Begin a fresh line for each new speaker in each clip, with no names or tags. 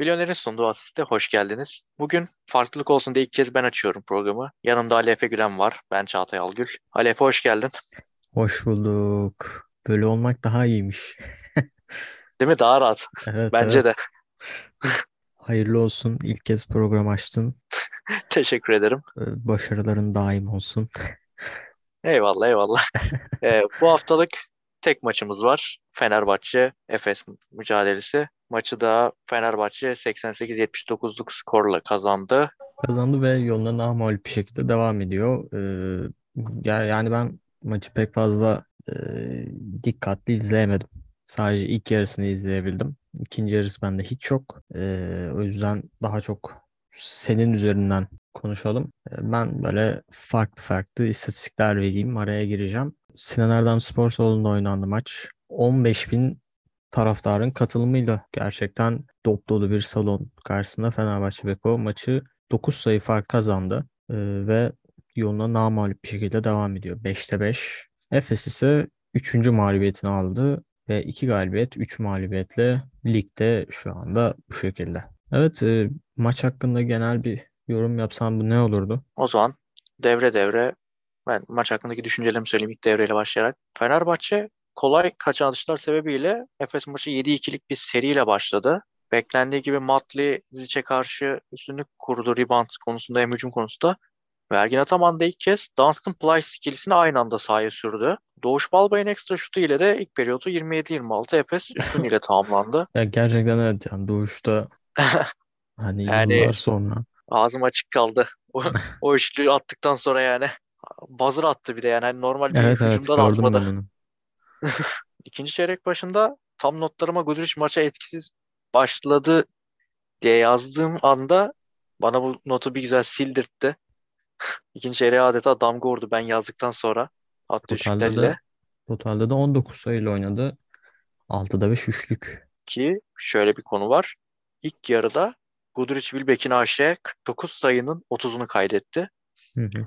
Milyoner'in sunduğu asiste hoş geldiniz. Bugün farklılık olsun diye ilk kez ben açıyorum programı. Yanımda Ali Efe Gülen var. Ben Çağatay Algül. Ali Efe hoş geldin.
Hoş bulduk. Böyle olmak daha iyiymiş.
Değil mi? Daha rahat.
Evet,
Bence
evet.
de.
Hayırlı olsun. İlk kez program açtın.
Teşekkür ederim.
Ee, Başarıların daim olsun.
Eyvallah eyvallah. Ee, bu haftalık tek maçımız var. Fenerbahçe Efes mücadelesi. Maçı da Fenerbahçe 88-79'luk skorla kazandı.
Kazandı ve yoluna namağlup bir şekilde devam ediyor. Ee, ya- yani ben maçı pek fazla e, dikkatli izleyemedim. Sadece ilk yarısını izleyebildim. İkinci yarısı bende hiç yok. Ee, o yüzden daha çok senin üzerinden konuşalım. Ee, ben böyle farklı farklı istatistikler vereyim. Araya gireceğim. Sinan Erdem Spor Salonu'nda oynandı maç. 15 bin taraftarın katılımıyla gerçekten dop dolu bir salon karşısında Fenerbahçe Beko maçı 9 sayı fark kazandı Ee, ve yoluna namağlup bir şekilde devam ediyor. 5'te 5. Efes ise 3. mağlubiyetini aldı ve 2 galibiyet 3 mağlubiyetle ligde şu anda bu şekilde. Evet e, maç hakkında genel bir yorum yapsam bu ne olurdu?
O zaman devre devre ben maç hakkındaki düşüncelerimi söyleyeyim ilk devreyle başlayarak. Fenerbahçe kolay kaçan atışlar sebebiyle Efes maçı 7-2'lik bir seriyle başladı. Beklendiği gibi Matli Zic'e karşı üstünlük kurdu rebound konusunda hem hücum konusunda. Ve Ergin Ataman da ilk kez Dunstan Plyce ikilisini aynı anda sahaya sürdü. Doğuş Balbay'ın ekstra şutu ile de ilk periyotu 27-26 Efes üstünlüğüyle tamamlandı.
Ya gerçekten evet yani doğuşta hani
Yani-
yıllar sonra
Ağzım açık kaldı. O, o üçlü attıktan sonra yani. Buzzer attı bir de yani. Hani normal bir
evet evet
hücumda da
gördüm ben
atmadı.
onu.
İkinci çeyrek başında tam notlarıma Guduric maça etkisiz başladı diye yazdığım anda bana bu notu bir güzel sildirtti. İkinci çeyreğe adeta damga vurdu ben yazdıktan sonra. Attı
Totalde
üçlüklerle.
de, totalde de 19 sayıyla oynadı. 6'da 5 üçlük.
ki şöyle bir konu var. İlk yarıda Guduric Wilbeck'in AŞ'e 49 sayının 30'unu kaydetti.
Hı hı.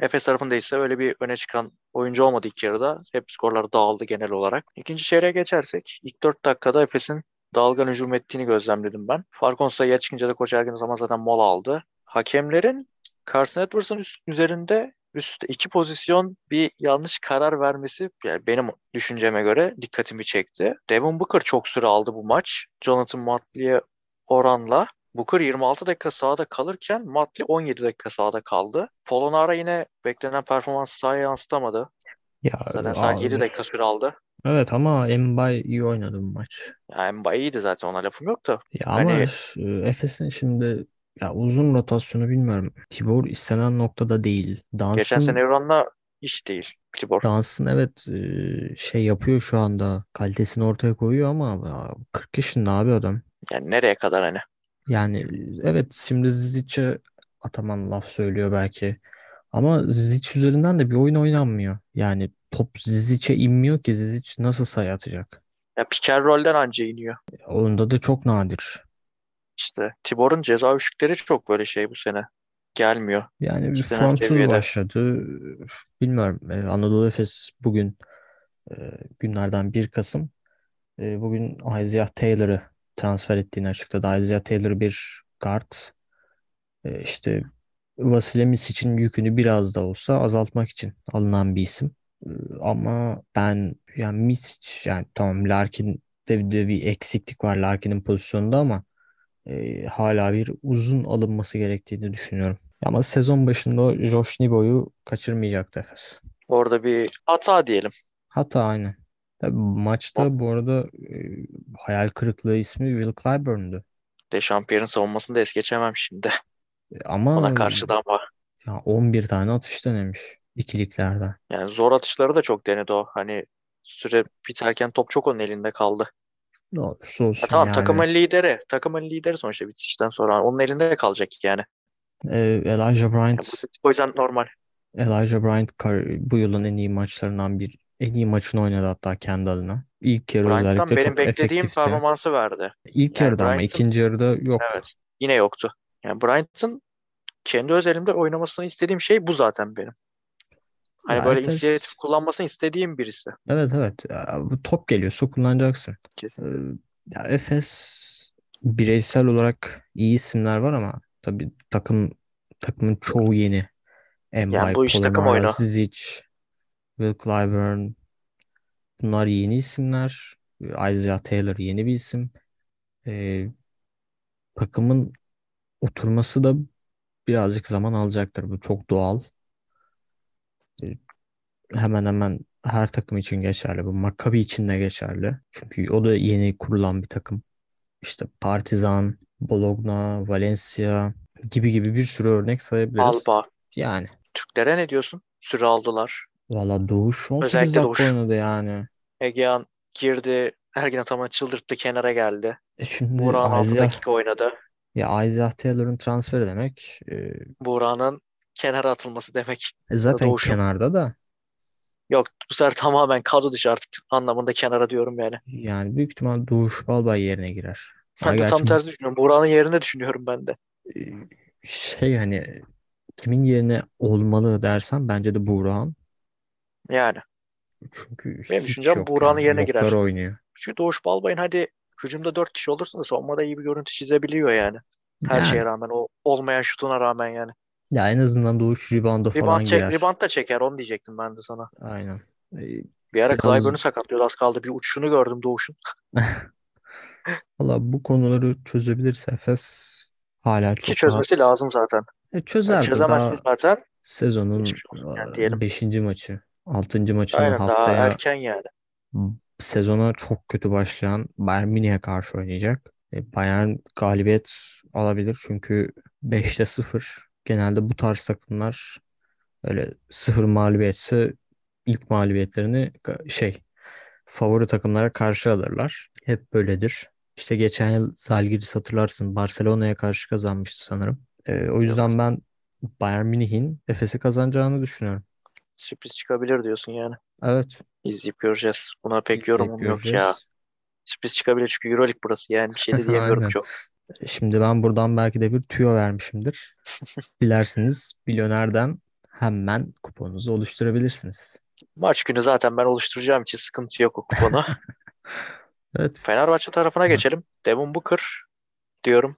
Efes tarafında ise öyle bir öne çıkan oyuncu olmadı ilk yarıda. Hep skorlar dağıldı genel olarak. İkinci çeyreğe geçersek ilk 4 dakikada Efes'in dalgan hücum ettiğini gözlemledim ben. Farkon sayıya çıkınca da Koç Ergin zaman zaten mola aldı. Hakemlerin Carson Edwards'ın üst- üzerinde üstte iki pozisyon bir yanlış karar vermesi yani benim düşünceme göre dikkatimi çekti. Devin Booker çok süre aldı bu maç. Jonathan Motley'e oranla Booker 26 dakika sahada kalırken Matli 17 dakika sahada kaldı. Polonara yine beklenen performansı sahaya yansıtamadı.
Ya
Zaten
aa,
sadece 7 dakika süre aldı.
Evet ama Mbaye iyi oynadı bu maç.
Yani Mbaye iyiydi zaten ona lafım yok da.
Ya
Hani-
ama e, Efes'in şimdi ya uzun rotasyonu bilmiyorum. Tibor istenen noktada değil.
Geçen
Dans'ın
sene Evran'la iş değil. Tibor.
Dans'ın evet e, şey yapıyor şu anda. Kalitesini ortaya koyuyor ama ya, 40 yaşında abi adam.
Yani nereye kadar hani?
Yani e, evet şimdi Zic'e Ataman laf söylüyor belki. Ama Zic üzerinden de bir oyun oynanmıyor. Yani top Zic'e inmiyor ki Zic nasıl sayı atacak?
Ya Piker rolden anca iniyor.
Onda da çok nadir.
İşte Tibor'un ceza üçlükleri çok böyle şey bu sene. Gelmiyor.
Yani bir
İstenen
form turu
seviyede.
başladı. Bilmiyorum. Ee, Anadolu Efes bugün e, günlerden 1 Kasım. E, bugün Isaiah Taylor'ı transfer ettiğini açıkladı. Isaiah Taylor bir guard. E, işte Vasilemis için yükünü biraz da olsa azaltmak için alınan bir isim. E, ama ben yani Misic yani tamam Larkin'de bir, de bir eksiklik var Larkin'in pozisyonunda ama e, hala bir uzun alınması gerektiğini düşünüyorum. Ama sezon başında o Josh Nibo'yu kaçırmayacaktı Efes.
Orada bir hata diyelim.
Hata aynı. Tabii maçta bu arada e, hayal kırıklığı ismi Will Clyburn'du.
Dechampierre'in savunmasını da es geçemem şimdi.
E, Ama
Ona karşı da ama.
ya 11 tane atış denemiş ikiliklerden.
Yani zor atışları da çok denedi o. Hani süre biterken top çok onun elinde kaldı.
Ne olursa olsun
Ya tamam
yani.
takımın lideri. Takımın lideri sonuçta bitişten sonra. Onun elinde kalacak yani.
E, Elijah
Yani
Bryant
bu- o yüzden normal.
Elijah Bryant kar- bu yılın en iyi maçlarından bir en iyi maçını oynadı hatta kendi adına. İlk yarı
Bryant'tan
özellikle
benim
çok
beklediğim
efektifti.
performansı verdi.
İlk
Yani
yarıda ama
Bryant'ın-
ikinci yarıda yok.
Evet. Yine yoktu. Yani Bryant'ın kendi özelimde oynamasını istediğim şey bu zaten benim. Hani
Ya
böyle
Efes-
inisiyatif kullanmasını istediğim birisi.
Evet evet. Ya, bu top geliyorsa kullanacaksın. Ee,
Kesin.
ya Efes bireysel olarak iyi isimler var ama tabii takım takımın çoğu yeni. Mbappe,
Yani bu iş takım
Polonara,
oyunu.
Zizic, Will Clyburn bunlar yeni isimler. Isaiah Taylor yeni bir isim. Ee, takımın oturması da birazcık zaman alacaktır. Bu çok doğal. Ee, hemen hemen her takım için geçerli. Bu Maccabi için de geçerli. Çünkü o da yeni kurulan bir takım. İşte Partizan, Bologna, Valencia gibi gibi bir sürü örnek sayabiliriz.
Alba.
Yani
Türklere ne diyorsun? Süre aldılar.
valla Doğuş 18
Özellikle
dakika
Doğuş.
oynadı yani.
Egehan girdi. Ergin Ataman çıldırttı kenara geldi.
E şimdi
Burak'ın 6
Isaiah,
dakika oynadı.
ya Isaiah Taylor'ın transferi demek. e,
Burak'ın kenara atılması demek.
e zaten
Doğuş'un.
kenarda da
Yok bu sefer tamamen kadro dışı artık anlamında kenara diyorum yani.
yani büyük ihtimal Doğuş Balbay yerine girer. Ama
Ben de tam
gerçi
tersi düşünüyorum. Burak'ın yerine düşünüyorum ben de.
e, şey hani kimin yerine olmalı dersen bence de Burak'ın.
Yani.
Çünkü
Benim
hiç
düşüncem
yok
Burak'ın
yani.
yerine
Yoklar
girer.
oynuyor.
Çünkü Doğuş Balbay'ın hadi hücumda 4 kişi olursa da savunmada iyi bir görüntü çizebiliyor yani. Her
Yani,
şeye rağmen o olmayan şutuna rağmen yani.
ya en azından Doğuş rebound'a falan
Rebound, çek,
girer.
rebound da çeker onu diyecektim ben de sana.
Aynen. E,
Bir ara
Biraz-
Clyburn'u sakatlıyordu az kaldı. Bir uçuşunu gördüm Doğuş'un.
Valla bu konuları çözebilirse Efes hala
Ki
çok rahat.
çözmesi lazım zaten.
E,
Yani
çözerdi
çözemezsin
daha
zaten.
sezonun
Geçmiş olsun yani diyelim.
5. maçı, 6. maçını
Aynen daha
haftaya
erken yani.
sezona çok kötü başlayan Bayern Münih'e karşı oynayacak. E, Bayern galibiyet alabilir çünkü 5'te 0. Genelde bu tarz takımlar öyle 0 mağlubiyetse ilk mağlubiyetlerini ka- şey favori takımlara karşı alırlar. Hep böyledir. İşte geçen yıl Zalgiris hatırlarsın Barcelona'ya karşı kazanmıştı sanırım. E, o yüzden ben Bayern Münih'in Efes'i kazanacağını düşünüyorum.
Sürpriz çıkabilir diyorsun yani.
Evet,
İzleyip göreceğiz. Buna pek
izleyip
yorumum yok ya.
göreceğiz.
Sürpriz çıkabilir çünkü Euroleague burası yani. Bir şey de diyemiyorum
Aynen.
çok.
Şimdi ben buradan belki de bir tüyo vermişimdir. Dilerseniz Milyoner'den hemen kuponunuzu oluşturabilirsiniz.
Maç günü zaten ben oluşturacağım için sıkıntı yok o kupona.
Evet.
Fenerbahçe tarafına
Evet.
geçelim. Devin Booker diyorum.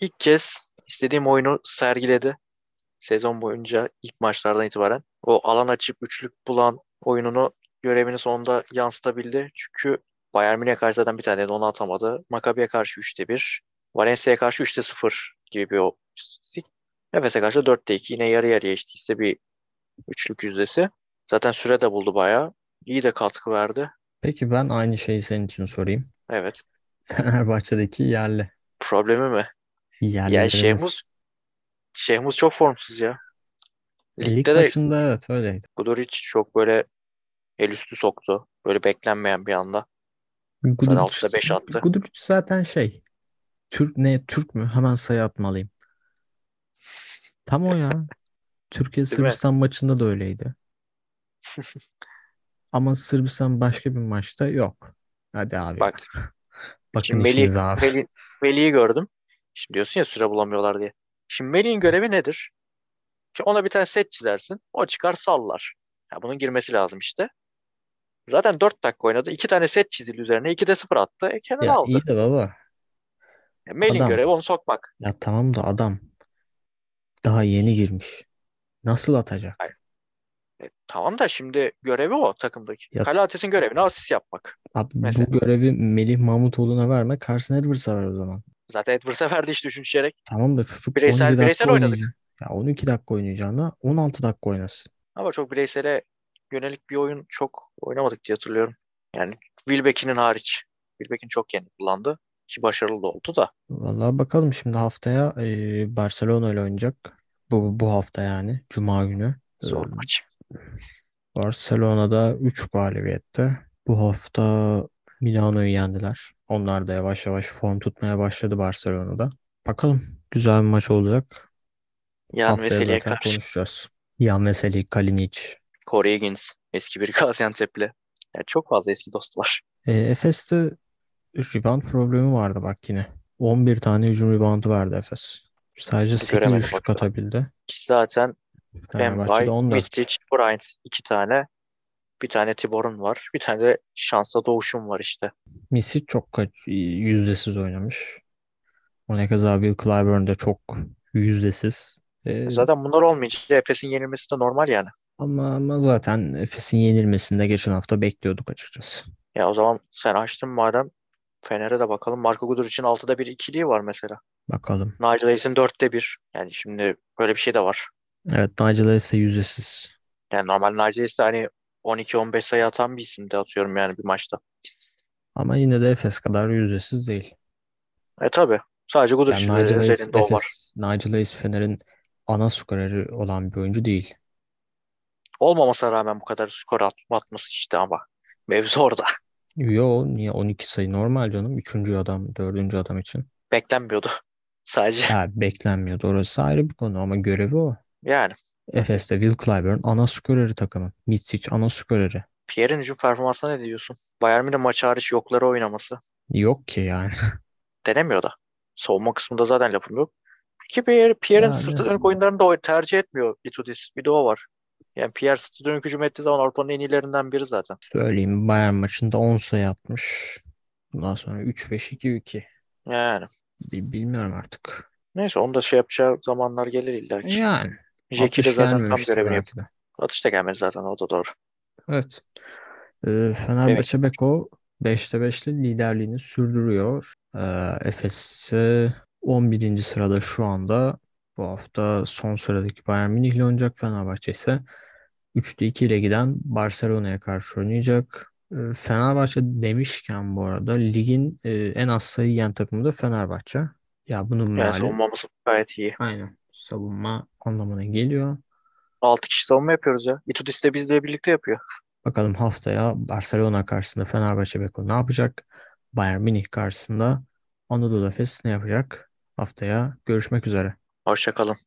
İlk kez istediğim oyunu sergiledi. Sezon boyunca ilk maçlardan itibaren. O alan açıp üçlük bulan oyununu görevinin sonunda yansıtabildi. Çünkü Bayern Münih'e karşı zaten bir tane de onu atamadı. Maccabi'ye karşı 3'te 1. Valencia'ya karşı 3'te 0 gibi bir o istatistik. Efes'e karşı 4'te 2. Yine yarı yarıya işte işte bir üçlük yüzdesi. Zaten süre de buldu bayağı. İyi de katkı verdi.
Peki ben aynı şeyi senin için sorayım.
Evet.
Fenerbahçe'deki yerli
Problemi mi?
yerlilerimiz.
Şehmus- Şehmus çok formsuz ya.
Lig
Ligde de
maçında evet öyleydi.
Guduric çok böyle el üstü soktu. Böyle beklenmeyen bir anda.
Guduric,
altıda beş attı.
Guduric zaten şey. Türk ne Türk mü? Hemen sayı atmalıyım. Tam o ya. Türkiye
mi?
Sırbistan maçında da öyleydi. Ama Sırbistan başka bir maçta yok. Hadi abi.
Bak.
Bakın
Şimdi Melih-
işinize abi.
Veli, Veli'yi gördüm. Şimdi diyorsun ya süre bulamıyorlar diye. Şimdi Melih'in görevi nedir? Ki ona bir tane set çizersin. O çıkar sallar. Ya bunun girmesi lazım işte. Zaten 4 dakika oynadı. 2 tane set çizildi üzerine. 2 de 0 attı. E kenara
Ya
aldı.
iyi de baba.
Ya Melih'in
adam.
görevi onu sokmak.
Ya tamam da adam daha yeni girmiş. Nasıl atacak?
E, tamam da şimdi görevi o takımdaki.
Ya-
Kalates'in görevini asist yapmak.
Abi bu
Mesela.
görevi Melih Mahmutoğlu'na verme. Carson Edwards'a ver o zaman.
Zaten Edwards'a verdi işte üçüncü çeyrek.
Tamam da çocuk
Bireysel-
12 dakika
bireysel oynadık.
oynayacak. Ya 12 dakika oynayacağına 16 dakika oynasın.
Ama çok bireysele yönelik bir oyun çok oynamadık diye hatırlıyorum. Yani Wilbeck'in hariç. Wilbeck'in çok yeni kullandı. Ki başarılı da oldu da.
Vallahi bakalım şimdi haftaya e, Barcelona ile oynayacak. Bu, bu hafta yani. Cuma günü. E,
Zor maç.
Barcelona'da 3 galibiyette. Bu hafta Milano'yu yendiler. Onlar da yavaş yavaş form tutmaya başladı Barcelona'da. Bakalım güzel bir maç olacak.
Yan
Haftaya
Veseli'ye
zaten
karşı.
konuşacağız. Yan Veseli, Kalinic.
Corey Higgins. Eski bir Gaziantep'li. Yani çok fazla eski dost var.
E, Efes'te rebound problemi vardı bak yine. 11 tane hücum reboundu vardı Efes. Sadece 8
göremedim
üçlük
bakalım.
atabildi.
Ki zaten
Fenerbahçe'de
Mbay,
14.
Mistic, Bryant iki tane. Bir tane Tibor'un var. Bir tane de şansa doğuşum var işte.
Misic çok kaç yüzdesiz oynamış. Onekazabil Clyburn de çok yüzdesiz. Ee,
Zaten bunlar olmayınca Efes'in yenilmesi de normal yani.
ama, ama zaten Efes'in yenilmesini de geçen hafta bekliyorduk açıkçası.
Ya o zaman sen açtın madem Fener'e de bakalım. Marco Guduric'in 6'da 1 ikiliği var mesela.
Bakalım.
Nigel Hayes'in 4'te 1. Yani şimdi böyle bir şey de var.
Evet Nigel Harris de yüzdesiz.
Yani normal Nigel Hayes de hani 12-15 sayı atan bir isim de atıyorum yani bir maçta.
Ama yine de Efes kadar yüzdesiz değil.
E tabi. Sadece
Yani
Guduric'in
Nigel Hayes
özelinde o var.
Efes, Nigel Hayes Fener'in ana skoreri olan bir oyuncu değil.
Olmamasına rağmen bu kadar skor at- atması işte ama. Mevzu orada.
Yo niye 12 sayı normal canım. Üçüncü adam, dördüncü adam için.
Beklenmiyordu. Sadece
Ha, beklenmiyordu. Orası ayrı bir konu ama görevi o.
yani.
Efes'te Will Clyburn ana skoreri takımın. Mitsic ana skoreri.
Pierre'in hücum performansına ne diyorsun? Bayern Münih maçı hariç yokları oynaması.
Yok ki yani.
denemiyor da. Savunma kısmında zaten lafım yok. Ki Pierre, Pierre'in
Yani.
sırtı dönük oyunlarını da oy- tercih etmiyor Itudis. Bir de o var. Yani Pierre sırtı dönük hücum ettiği zaman Avrupa'nın en iyilerinden biri zaten.
Söyleyeyim Bayern maçında 10 sayı atmış. Bundan sonra 3-5-2-2.
Yani.
Bi- Bilmiyorum artık.
Neyse onu da şey yapacağı zamanlar gelir illa ki.
Yani
Jeki de
60
zaten tam
gelmemiştir
görevini yapıyor.
belki de.
Atış da gelmedi zaten o da doğru.
Evet. Ee, Fenerbahçe Beko 5'te 5'li liderliğini sürdürüyor. Ee, Efes ise 11. sırada şu anda. Bu hafta son sıradaki Bayern Münih ile oynayacak. Fenerbahçe ise 3'te 2 ile giden Barcelona'ya karşı oynayacak. Ee, Fenerbahçe demişken bu arada ligin e, en az sayı yiyen takımı da Fenerbahçe. Ya bunun
Yani
meali
savunmamız gayet iyi.
aynen savunma anlamına geliyor.
6 kişi savunma yapıyoruz ya. Itudis de bizle birlikte yapıyor.
Bakalım haftaya Barcelona karşısında Fenerbahçe Beko ne yapacak? Bayern Münih karşısında Anadolu Efes ne yapacak? Haftaya görüşmek üzere.
Hoşçakalın.